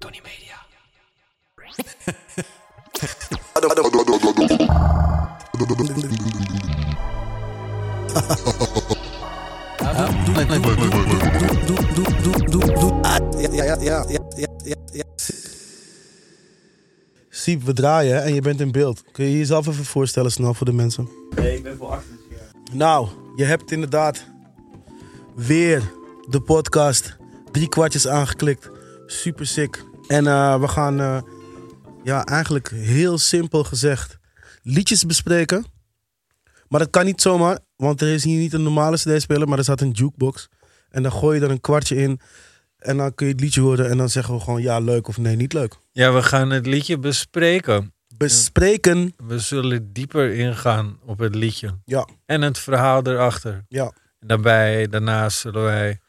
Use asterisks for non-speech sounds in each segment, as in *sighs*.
Tony Media. Siep, we draaien en je bent in beeld. Kun je jezelf even voorstellen snel voor de mensen? Nee, ik ben voor achter. Nou, je hebt inderdaad weer de podcast drie kwartjes aangeklikt. Super sick. En eh, we gaan, eh, ja, eigenlijk heel simpel gezegd, liedjes bespreken. Maar dat kan niet zomaar, want er is hier niet een normale CD-speler, maar er staat een jukebox. En dan gooi je er een kwartje in en dan kun je het liedje horen en dan zeggen we gewoon ja, leuk of nee, niet leuk. Ja, we gaan het liedje bespreken. Bespreken, We zullen dieper ingaan op het liedje. ja, En het verhaal erachter. ja. Daarbij, daarnaast zullen wij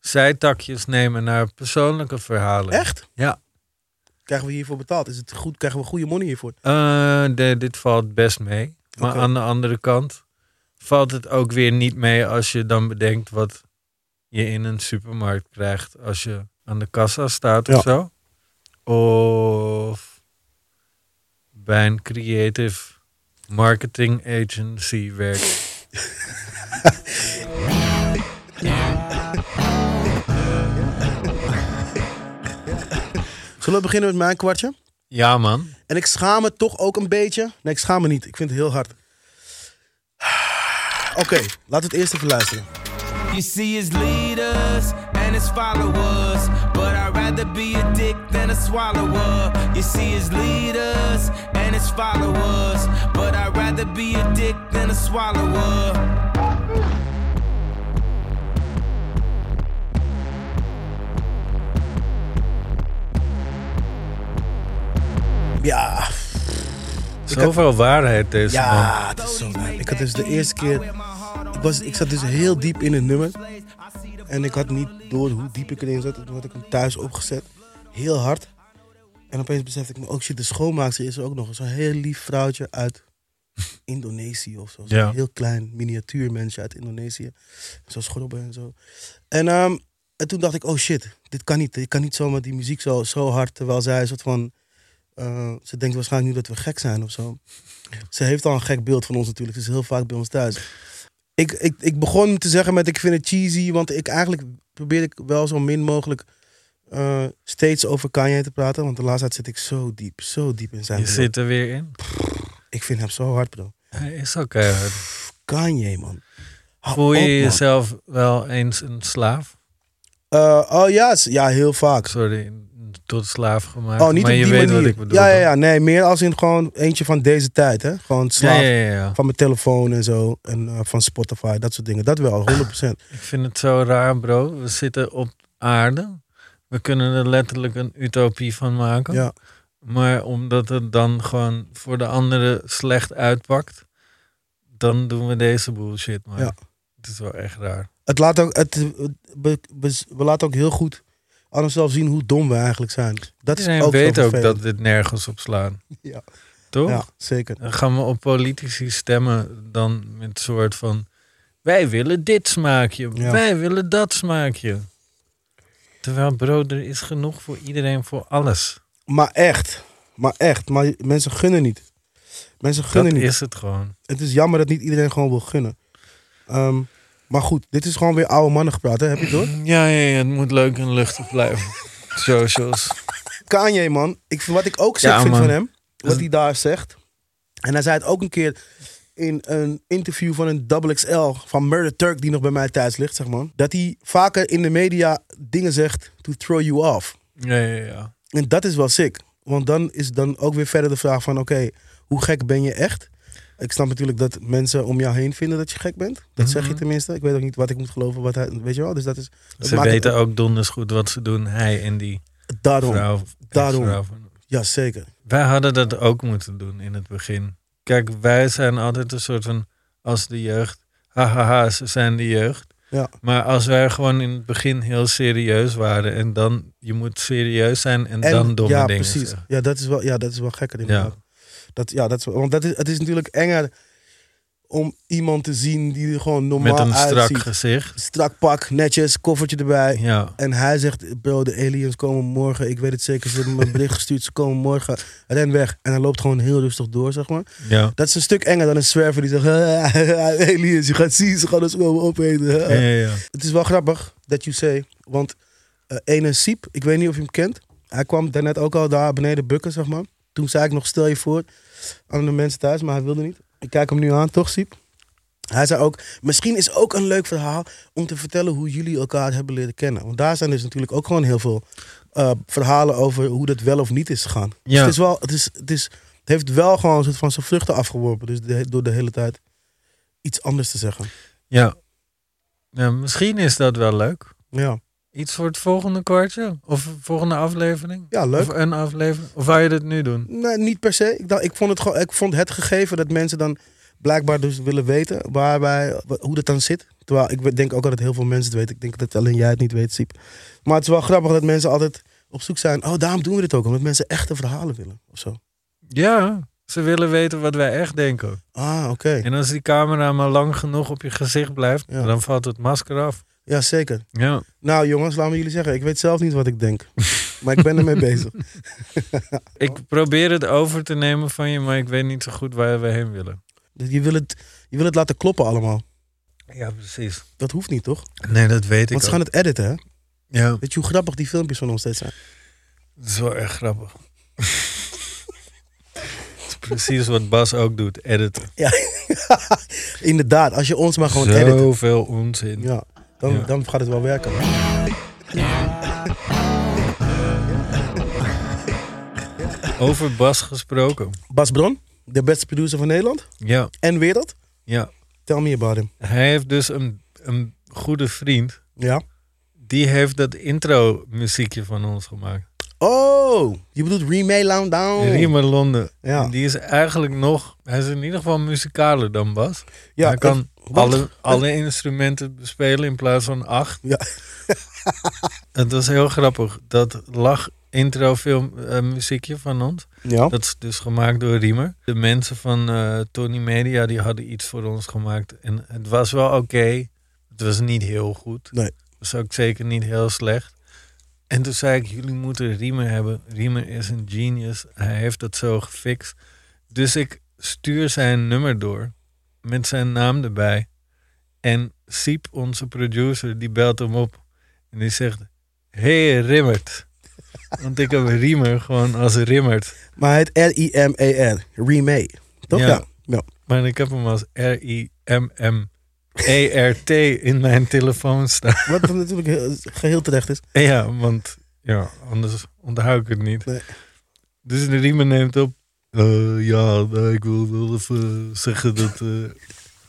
zijtakjes nemen naar persoonlijke verhalen. Echt? Ja. Krijgen we hiervoor betaald? Is het goed? Krijgen we goede money hiervoor? Eh, de- dit valt best mee. Maar Oké. aan de andere kant valt het ook weer niet mee als je dan bedenkt wat je in een supermarkt krijgt als je aan de kassa staat of zo. Of bij een creative marketing agency werkt. Zullen we beginnen met mijn kwartje? Ja man. En ik schaam me toch ook een beetje. Nee, ik schaam me niet. Ik vind het heel hard. *sighs* Oké, laten we het eerst even luisteren. You see his leaders and his followers, but I'd rather be a dick than a swallower. You see his leaders and his followers, but I'd rather be a dick than a swallower. Ja, Zoveel waarheid deze man. ja, het is zo leuk. Ik had dus de eerste keer... Ik, was, ik zat dus heel diep in het nummer. En ik had niet door hoe diep ik erin zat. Toen had ik hem thuis opgezet. Heel hard. En opeens besefte ik me, oh shit, de schoonmaakster is er ook nog. Zo'n heel lief vrouwtje uit *laughs* Indonesië of zo. Zo'n Ja. heel klein miniatuur mensje uit Indonesië. Zo schorrobben en zo. En, ehm, en toen dacht ik, oh shit, dit kan niet. Ik kan niet zomaar die muziek zo, zo hard. Terwijl zij een soort van... eh, ze denkt waarschijnlijk nu dat we gek zijn of zo. Ze heeft al een gek beeld van ons natuurlijk. Ze is heel vaak bij ons thuis ik, ik, ik begon te zeggen met ik vind het cheesy, want ik eigenlijk probeer ik wel zo min mogelijk eh, steeds over Kanye te praten, want de laatste tijd zit ik zo diep, zo diep in zijn Je wereld. zit er weer in. Ik vind hem zo hard, bro. Hij is ook keihard. Kanye, man. Hou Voel op, je man. jezelf wel eens een slaaf? Eh, oh ja, s- ja, heel vaak. Sorry, tot slaaf gemaakt. Oh, niet maar op je die weet manier. wat ik bedoel. ja, ja, toch? ja, nee, meer als in gewoon eentje van deze tijd, hè? Gewoon slaaf Ja, ja, ja, ja. van mijn telefoon en zo, en eh, van Spotify, dat soort dingen. Dat Ah, wel, 100%. Ik vind het zo raar, bro. We zitten op aarde. We kunnen er letterlijk een utopie van maken. ja. Maar omdat het dan gewoon voor de anderen slecht uitpakt, dan doen we deze bullshit, man. Ja. Het is wel echt raar. Het laat ook, het, het- be- bes- we laten ook heel goed aan onszelf zien hoe dom we eigenlijk zijn. Dat is Iedereen ook weet zo ook vervelend. dat dit nergens op slaat. Ja. Toch? Ja, zeker. Dan gaan we op politici stemmen dan met soort van... Wij willen dit smaakje, Ja. wij willen dat smaakje. Terwijl bro, er is genoeg voor iedereen, voor alles. Maar echt, maar echt, maar mensen gunnen niet. Mensen gunnen dat niet. is het gewoon. Het is jammer dat niet iedereen gewoon wil gunnen. Ehm, maar goed, dit is gewoon weer oude mannen gepraat, hè? heb je het door? Ja, ja, ja, het moet leuk en luchtig blijven. *laughs* Socials. Kanye, man. Ik, vind- wat ik ook sick Ja, vind man. van hem. Wat hij daar zegt. En hij zei het ook een keer in een interview van een Double XL van Murder Turk, die nog bij mij thuis ligt, zeg maar. Dat hij vaker in de media dingen zegt to throw you off. Ja, ja, ja. En dat is wel sick. Want dan is dan ook weer verder de vraag van, oké, hoe gek ben je echt? Ik snap natuurlijk dat mensen om jou heen vinden dat je gek bent. Dat zeg je Mhm. tenminste. Ik weet ook niet wat ik moet geloven. Wat hij, weet je wel? Dus dat is. dat Ze maakt het- weten ook donders goed wat ze doen, hij en die Daarom. vrouw. daarom. ex-vrouw van- Jazeker. Wij hadden dat ook moeten doen in het begin. Kijk, wij zijn altijd een soort van als de jeugd. Hahaha, ze zijn de jeugd. Ja. Maar als wij gewoon in het begin heel serieus waren en dan, je moet serieus zijn en, dan domme ja, dingen precies. zeggen. Ja, dat is wel, ja, dat is wel gekker inderdaad. Dat, ja, dat is, wel- want dat is, het is natuurlijk enger om iemand te zien die er gewoon normaal Met een strak uitziet. gezicht. Strak pak, netjes, koffertje erbij. Ja. En hij zegt, bro, de aliens komen morgen. Ik weet het zeker, ze hebben me een bericht *laughs* gestuurd. Ze komen morgen. Ren weg. En hij loopt gewoon heel rustig door, zeg maar. ja. Dat is een stuk enger dan een zwerver die zegt... *laughs* aliens, je gaat zien, ze gaan ons gewoon opeten. Ja, ja, ja. Het is wel grappig dat you say. Want eh ene Siep, ik weet niet of je hem kent. Hij kwam daarnet ook al daar beneden bukken, zeg maar. Toen zei ik nog, stel je voor aan de mensen thuis, maar hij wilde niet. Ik kijk hem nu aan, toch Siep? Hij zei ook, misschien is ook een leuk verhaal om te vertellen hoe jullie elkaar hebben leren kennen. Want daar zijn dus natuurlijk ook gewoon heel veel eh, verhalen over hoe dat wel of niet is gegaan. Dus Ja. het, is wel, het, is, het, is, het heeft wel gewoon een soort van zijn vruchten afgeworpen. Dus de- door de hele tijd iets anders te zeggen. Ja. Nou, misschien is dat wel leuk. Ja, Iets voor het volgende kwartje? Of volgende aflevering? ja leuk. Of een aflevering? Of wou je dat nu doen? Nee, niet per se. Ik, dacht, ik, vond het gewoon, ik vond het gegeven dat mensen dan blijkbaar dus willen weten waar wij, wa- hoe dat dan zit. Terwijl ik denk ook altijd heel veel mensen het weten. Ik denk dat alleen jij het niet weet, Siep. Maar het is wel grappig dat mensen altijd op zoek zijn. Oh, daarom doen we dit ook. Omdat mensen echte verhalen willen. Of zo. Ja, ze willen weten wat wij echt denken. Ah, oké. En als die camera maar lang genoeg op je gezicht blijft, Ja. dan valt het masker af. Ja, zeker. Ja. Nou jongens, laten we jullie zeggen. Ik weet zelf niet wat *laughs* ik denk. maar ik ben ermee bezig. Ik probeer het over te nemen van je, maar ik weet niet zo goed waar we heen willen. Dus je wil het, je wil het laten kloppen allemaal. Ja, precies. Dat hoeft niet, toch? Nee, dat weet ik Want ze gaan het editen, hè? Ja, Weet je hoe grappig die filmpjes van ons steeds zijn? dat is wel echt grappig. Het is precies wat Bas ook doet, editen. Ja. *laughs* Inderdaad, als je ons maar gewoon edit. Zoveel onzin. Ja, dan, Ja. dan gaat het wel werken. Over Bas gesproken. Bas Bron, de beste producer van Nederland Ja, en wereld. ja. Tell me about him. Hij heeft dus een, een goede vriend. Ja. Die heeft dat intro muziekje van ons gemaakt. Oh, je bedoelt Remake Lounge Down. Riemer Londen. Oh. Ja. En Die is eigenlijk nog, hij is in ieder geval muzikaler dan Bas. Ja, hij kan het- want- alle, alle instrumenten bespelen in plaats van acht. Ja. Het was heel grappig. Dat lag intro film eh, muziekje van ons. Ja. Dat is dus gemaakt door Riemer. De mensen van eh, Tony Media die hadden iets voor ons gemaakt. En het was wel oké. Het was niet heel goed. Nee. Het was ook zeker niet heel slecht. En toen zei ik, jullie moeten Riemer hebben. Riemer is een genius. Hij heeft dat zo gefixt. Dus ik stuur zijn nummer door. Met zijn naam erbij. En Siep, onze producer, die belt hem op. En die zegt, hey Rimmert. Want ik heb Riemer gewoon als Rimmert. Maar hij heet R-I-M-E-R. Remake. Toch? Ja. Ja. ja. Maar ik heb hem als R-I-M-M-E-R-T E in mijn telefoon staan. *laughs* Wat dan natuurlijk heel- geheel terecht is. Ja, want ja, anders onthoud ik het niet. Nee. Dus de riemen neemt op. Eh, ja, nou, ik wil wel even zeggen dat eh,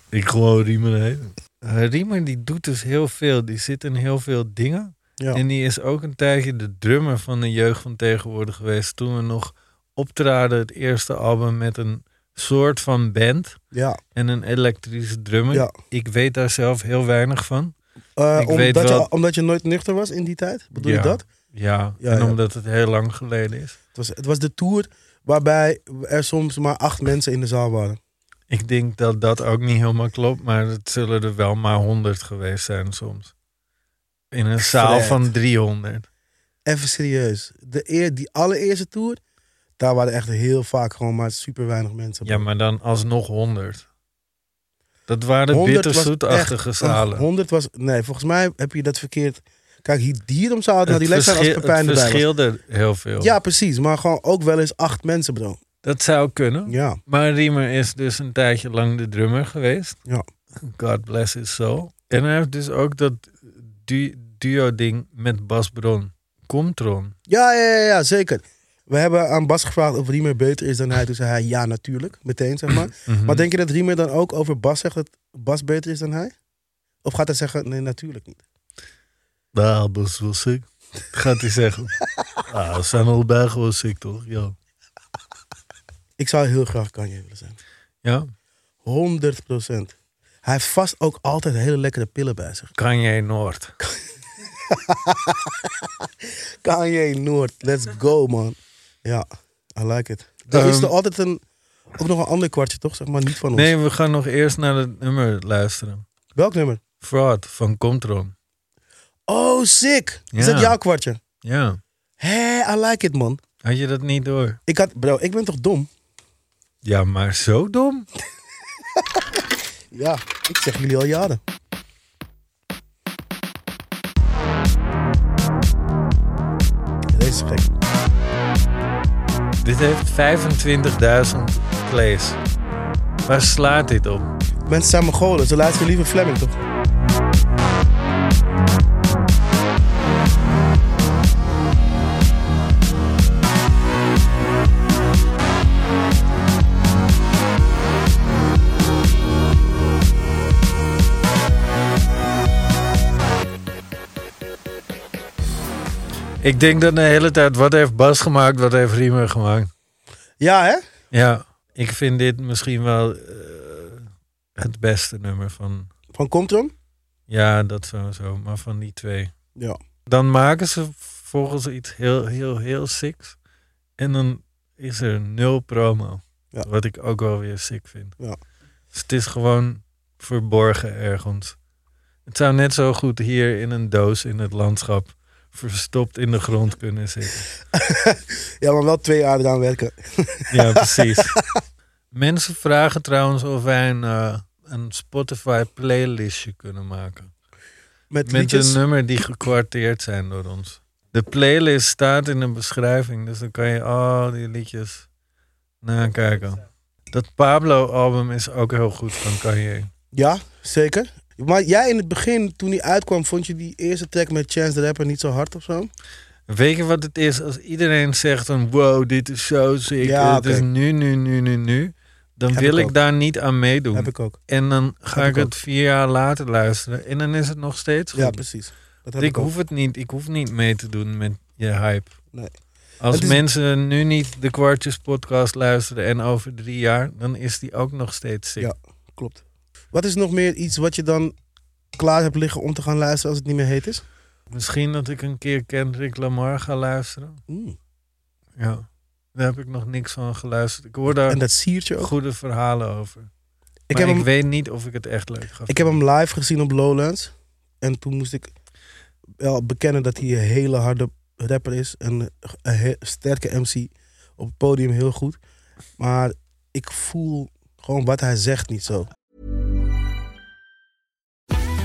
ik gewoon Riemer heet. Eh, Riemer die doet dus heel veel. Die zit in heel veel dingen. Ja. En die is ook een tijdje de drummer van de jeugd van tegenwoordig geweest. Toen we nog optraden het eerste album met een soort van band. ja. en een elektrische drummer. Ja. Ik weet daar zelf heel weinig van. Eh, Ik weet omdat, wel- je, omdat je nooit nuchter was in die tijd? Bedoel Ja. je dat? Ja, Ja, en ja. omdat het heel lang geleden is. Het was, het was de tour waarbij er soms maar acht mensen in de zaal waren. Ik denk dat dat ook niet helemaal klopt, maar het zullen er wel maar 100 geweest zijn soms. In een zaal Fred. van 300. Even serieus. De eer, die allereerste tour, daar waren echt heel vaak gewoon maar super weinig mensen. Ja, maar dan alsnog 100. Dat waren 100 was bitterzoetachtige echt- zalen. 100 was... Nee, volgens mij heb je dat verkeerd... Kijk, hier dierom zou het naar Het, die les zijn als verschil, het Pepijn erbij was. verschilde heel veel. Ja, precies. Maar gewoon ook wel eens acht mensen, bro. Dat zou kunnen. Ja, Maar Riemer is dus een tijdje lang de drummer geweest. Ja. God bless his soul. En hij heeft dus ook dat du- duo-ding met Bas Bron. Comtron. ja, ja, ja, ja, zeker. We hebben aan Bas gevraagd of Riemer beter is dan hij. Toen zei hij ja, natuurlijk. Meteen, zeg maar. Mhm. Maar denk je dat Riemer dan ook over Bas zegt dat Bas beter is dan hij? Of gaat hij zeggen, nee, natuurlijk niet. Nou, Bas was ziek. Gaat hij *laughs* zeggen. ah, zijn allebei gewoon ziek, toch? Ja. Ik zou heel graag Kanye willen zijn. Ja. 100 procent. Hij heeft vast ook altijd hele lekkere pillen bij zich. Kanye Noord. Kanye Noord, let's go man. Ja, I like it. Er is Ehm, er altijd een, ook nog een ander kwartje toch, zeg maar, niet van ons. Nee, we gaan nog eerst naar het nummer luisteren. Welk nummer? Fraud van Comtron. Oh, sick. Is Ja. dat jouw kwartje? Ja. Hé, I like it man. Had je dat niet door? Ik had, bro, ik ben toch dom? Ja, maar zo dom. Ja, ik zeg jullie al jaren. Deze is gek. Dit heeft 25.000 plays. Waar slaat dit op? Mensen zijn Mongolen, ze laten liever Fleming toch? Ik denk dat de hele tijd, wat heeft Bas gemaakt, wat heeft Riemer gemaakt? Ja, hè? Ja, ik vind dit misschien wel eh, het beste nummer van... Van Compton? Ja, dat sowieso, maar van die twee. Ja. Dan maken ze volgens iets heel, heel, heel sick. En dan is er nul promo. Ja. Wat ik ook wel weer sick vind. Ja. Dus het is gewoon verborgen ergens. Het zou net zo goed hier in een doos in het landschap verstopt in de grond kunnen zitten. Ja, maar wel twee jaar eraan werken. Ja, precies. Mensen vragen trouwens of wij een, eh, een Spotify playlistje kunnen maken. Met, Met liedjes. een eh, nummer die gekwarteerd zijn door ons. De playlist staat in de beschrijving, dus dan kan je al die liedjes nakijken. Dat Pablo-album is ook heel goed van Kanye. Ja, zeker. Maar jij in het begin, toen die uitkwam, vond je die eerste track met Chance the Rapper niet zo hard of zo? Weet je wat het is? Als iedereen zegt een wow, dit is zo sick, Ja, het is oké. nu, nu, nu, nu, nu. Dan Heb wil ik ik ook. daar niet aan meedoen. Heb ik ook. En dan ga Heb ik ik het vier jaar later luisteren. En dan is het nog steeds goed. Ja, precies. Dat heb ik ik, ook. hoef het niet. Ik hoef niet mee te doen met je hype. Nee. Als Het is- mensen nu niet de Kwartjes podcast luisteren en over drie jaar, dan is die ook nog steeds sick. Ja, klopt. Wat is nog meer iets wat je dan klaar hebt liggen om te gaan luisteren als het niet meer heet is? Misschien dat ik een keer Kendrick Lamar ga luisteren. Mm. Ja. Daar heb ik nog niks van geluisterd. Ik hoor daar En dat siertje ook. goede verhalen over. Maar Ik heb, ik hem, weet niet of ik het echt leuk ga ik heb hem vinden. live gezien op Lowlands. En toen moest ik wel bekennen dat hij een hele harde rapper is. En een he- sterke MC. Op het podium heel goed. Maar ik voel gewoon wat hij zegt niet zo.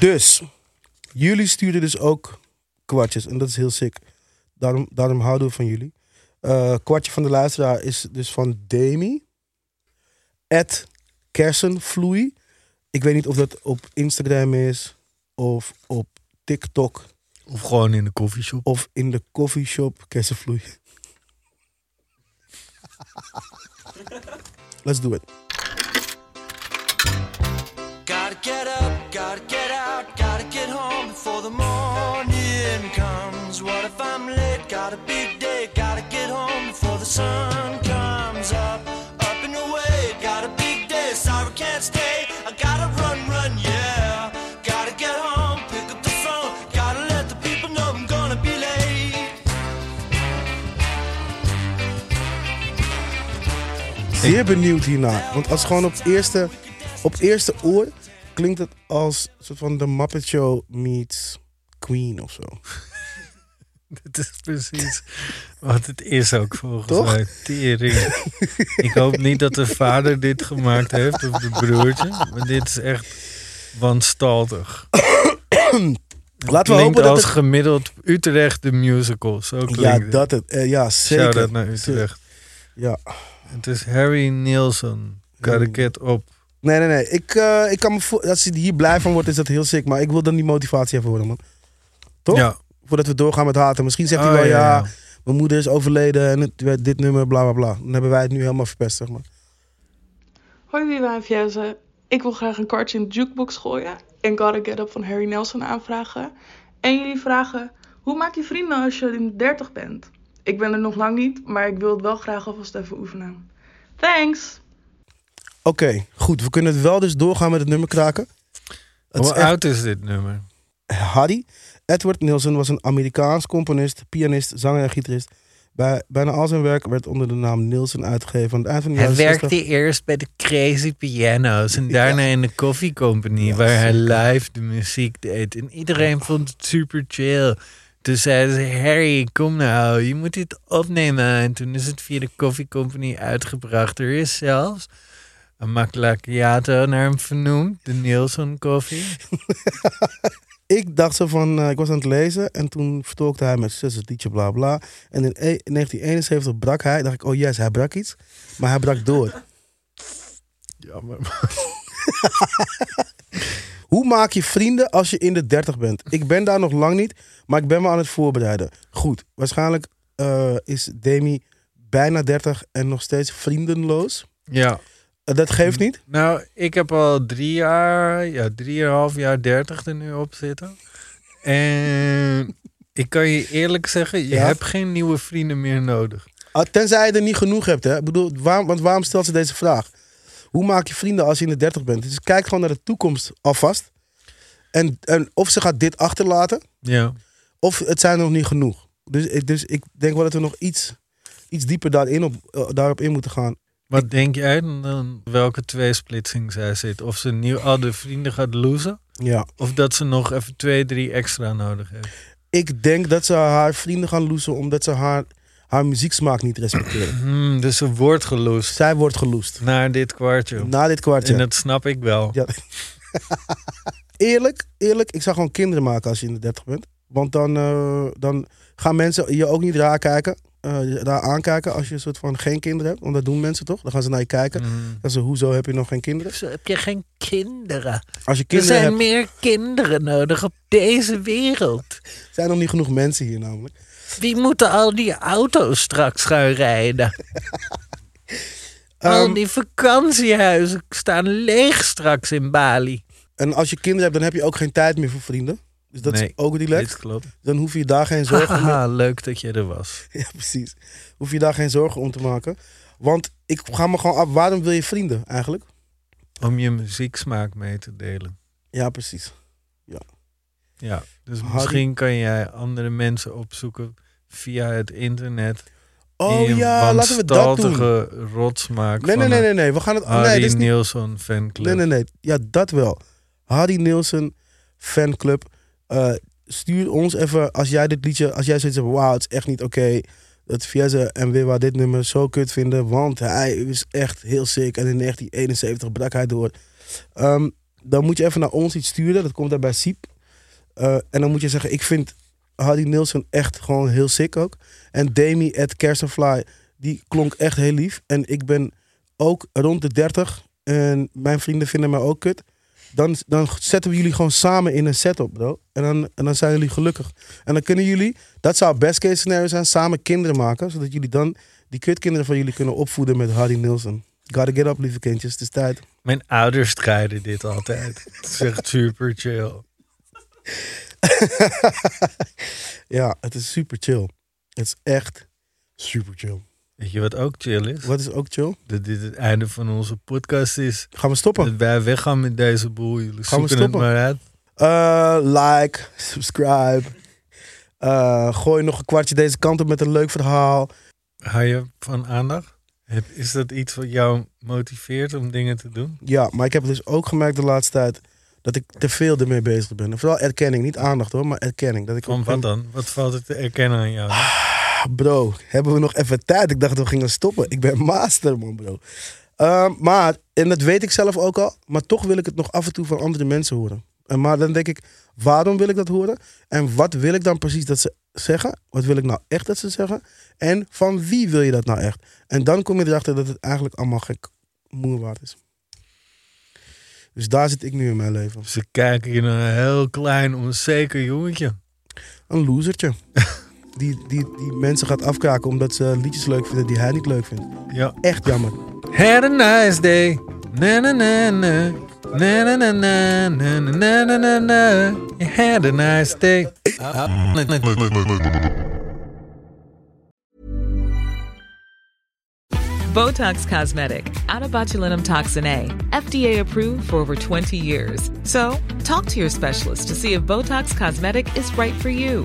Dus, jullie sturen dus ook kwartjes. En dat is heel sick. Daarom, daarom houden we van jullie. Eh, kwartje van de luisteraar is dus van Demi. At Kersenvloei. Ik weet niet of dat op Instagram is. Of op TikTok. Of gewoon in de *laughs* koffieshop. Of in de coffeeshop Kersenvloei. *laughs* Let's do it. Gotta get up, gotta get out, gotta get home before the morning comes. What if I'm late? Got a big day, gotta get home before the sun comes up. Up and away, got a big day, sorry can't stay. I gotta run, run, yeah. Gotta get home, pick up the phone, gotta let the people know I'm gonna be late. Zeer benieuwd hierna. Want als gewoon op eerste, op eerste oor klinkt het als een soort van The Muppet Show meets Queen of zo. Dat is precies wat het is ook volgens Toch? mij. Tering. Ik hoop niet dat de vader dit gemaakt heeft of de broertje. Maar dit is echt wanstaltig. Laten we klinkt hopen dat als het... gemiddeld Utrecht de musical. Zo klinkt Ja, het. dat het. eh, ja, zeker. Shout-out naar Utrecht. Ja. Het is Harry Nielsen. Got a get op. Nee, nee, nee. Ik, eh, ik kan me voor... Als je hier blij van wordt, is dat heel sick. Maar ik wil dan die motivatie even horen, man. Toch? Ja. Voordat we doorgaan met haten. Misschien zegt Oh, hij wel, ja, ja, ja. mijn moeder is overleden en het werd dit nummer, bla, bla, bla. Dan hebben wij het nu helemaal verpest, zeg maar. Hoi Wima en Fjeuze. Ik wil graag een kaartje in de jukebox gooien en Gotta Get Up van Harry Nelson aanvragen. En jullie vragen, hoe maak je vrienden als je in de 30 bent? Ik ben er nog lang niet, maar ik wil het wel graag alvast even oefenen. Thanks! Oké, goed. We kunnen het wel dus doorgaan met het nummer kraken. Het is Hoe echt- oud is dit nummer? Harry. Edward Nielsen was een Amerikaans componist, pianist, zanger en gitarist. Bij, bijna al zijn werk werd onder de naam Nielsen uitgegeven. Aan het eind van de Hij jaren 60 werkte eerst bij de Crazy Piano's en daarna in de Coffee Company, waar hij live de muziek deed. En iedereen vond het super chill. Toen zeiden ze, Harry, kom nou, je moet dit opnemen. En toen is het via de Coffee Company uitgebracht. Er is zelfs een macchiato naar hem vernoemd, de Nielsen Coffee. Ik dacht zo van, eh, ik was aan het lezen en toen vertolkte hij met zussen, liedje, bla bla. En in, e- in 1971 brak hij, dacht ik, oh yes, hij brak iets. Maar hij brak door. Jammer. Hoe maak je vrienden als je in de 30 bent? Ik ben daar nog lang niet, maar ik ben me aan het voorbereiden. Goed, waarschijnlijk eh, is Demi bijna 30 en nog steeds vriendenloos. Ja. Eh, dat geeft niet. Nou, ik heb al drie jaar, ja, drieënhalf jaar dertig er nu op zitten. *laughs* En ik kan je eerlijk zeggen, je Ja? hebt geen nieuwe vrienden meer nodig. Ah, Tenzij je er niet genoeg hebt, hè? Ik bedoel, waarom, want waarom stelt ze deze vraag? Hoe maak je vrienden als je in de 30 bent? Dus kijk gewoon naar de toekomst alvast. En, en of ze gaat dit achterlaten, Ja. of het zijn er nog niet genoeg. Dus, ik- dus ik denk wel dat we nog iets, iets dieper daarin op, eh, daarop in moeten gaan. Wat denk jij dan, dan welke tweesplitsing zij zit? Of ze nieuw al de vrienden gaat lozen? Ja. Of dat ze nog even twee, drie extra nodig heeft? Ik denk dat ze haar vrienden gaan loesen omdat ze haar, haar muzieksmaak niet respecteren. Hmm, dus ze wordt geloosd Zij wordt geloest. naar dit kwartje. Na dit kwartje. En dat snap ik wel. Ja. *laughs* eerlijk, eerlijk, ik zou gewoon kinderen maken als je in de 30 bent. Want dan, eh, dan gaan mensen je ook niet raar kijken, eh, raar aankijken als je een soort van geen kinderen hebt. Want dat doen mensen toch? Dan gaan ze naar je kijken. Hmm. Dan ze, hoezo heb je nog geen kinderen? Heb je geen kinderen? Als je kinderen hebt, meer kinderen nodig op deze wereld. zijn nog niet genoeg mensen hier namelijk. Wie moeten al die auto's straks gaan rijden? al Ehm, die vakantiehuizen staan leeg straks in Bali. en als je kinderen hebt, dan heb je ook geen tijd meer voor vrienden. Dus dat is Nee, ook relaxed. klopt. Dan hoef je daar geen *laughs* zorgen om Haha, leuk dat je er was. Ja, precies. Hoef je daar geen zorgen om te maken. Want ik ga me gewoon af, waarom wil je vrienden eigenlijk? Om je muzieksmaak mee te delen. Ja, precies. Ja, dus Harry- misschien kan jij andere mensen opzoeken via het internet. Oh die een ja, laten we dat doen. wanstaltige rotsmaak Nee, nee, van nee, een nee, nee. We gaan het. Harry Nee, dit is niet. Nielsen fanclub. Nee, nee, nee. Ja, dat wel. Harry Nielsen fanclub. Eh, stuur ons even als jij dit liedje, als jij zoiets hebt, wauw, het is echt niet oké. dat Fiesse en Wiwa dit nummer zo kut vinden, want hij is echt heel sick en in 1971 brak hij door. Ehm, dan moet je even naar ons iets sturen, dat komt daar bij Siep. Eh, en dan moet je zeggen, ik vind Harry Nielsen echt gewoon heel sick ook. En Demi at Kersenfly, die klonk echt heel lief. En ik ben ook rond de 30 en mijn vrienden vinden mij ook kut. Dan, dan zetten we jullie gewoon samen in een set op, bro. En dan, en dan zijn jullie gelukkig. En dan kunnen jullie, dat zou best case scenario zijn, samen kinderen maken. Zodat jullie dan die kutkinderen van jullie kunnen opvoeden met Harry Nielsen. Gotta get up, lieve kindjes, het is tijd. Mijn ouders strijden dit altijd. *laughs* Het is echt super chill. Ja, het is super chill. Het is echt super chill. Weet je wat ook chill is? Wat is ook chill? Dat dit het einde van onze podcast is. Gaan we stoppen? Dat wij weggaan met deze boel. Jullie Gaan zoeken we het stoppen? maar uit. Eh, like, subscribe. Eh, gooi nog een kwartje deze kant op met een leuk verhaal. Hou je van aandacht? Heb- Is dat iets wat jou motiveert om dingen te doen? Ja, maar ik heb dus ook gemerkt de laatste tijd Dat ik te veel ermee bezig ben. En Vooral erkenning, niet aandacht hoor, maar erkenning. Dat ik Van ook wat denk, dan? Wat valt er te erkennen aan jou? "Ah, Bro, hebben we nog even tijd? Ik dacht dat we gingen stoppen. Ik ben master, man, bro. Ehm, maar, en dat weet ik zelf ook al, maar toch wil ik het nog af en toe van andere mensen horen. En maar dan denk ik, waarom wil ik dat horen? En wat wil ik dan precies dat ze zeggen? Wat wil ik nou echt dat ze zeggen? En van wie wil je dat nou echt? En dan kom je erachter dat het eigenlijk allemaal gek moer waard is. Dus daar zit ik nu in mijn leven. Ze kijken je naar een heel klein, onzeker jongetje. Een losertje. *laughs* Die, die, die mensen gaat afkraken omdat ze liedjes leuk vinden die hij niet leuk vindt. Ja. Echt jammer. Had a nice day. Na na na na. Na na na na na na na na na. You had a nice day. Botox Cosmetic, out of botulinum toxin A, FDA approved for over 20 years. So, talk to your specialist to see if Botox Cosmetic is right for you.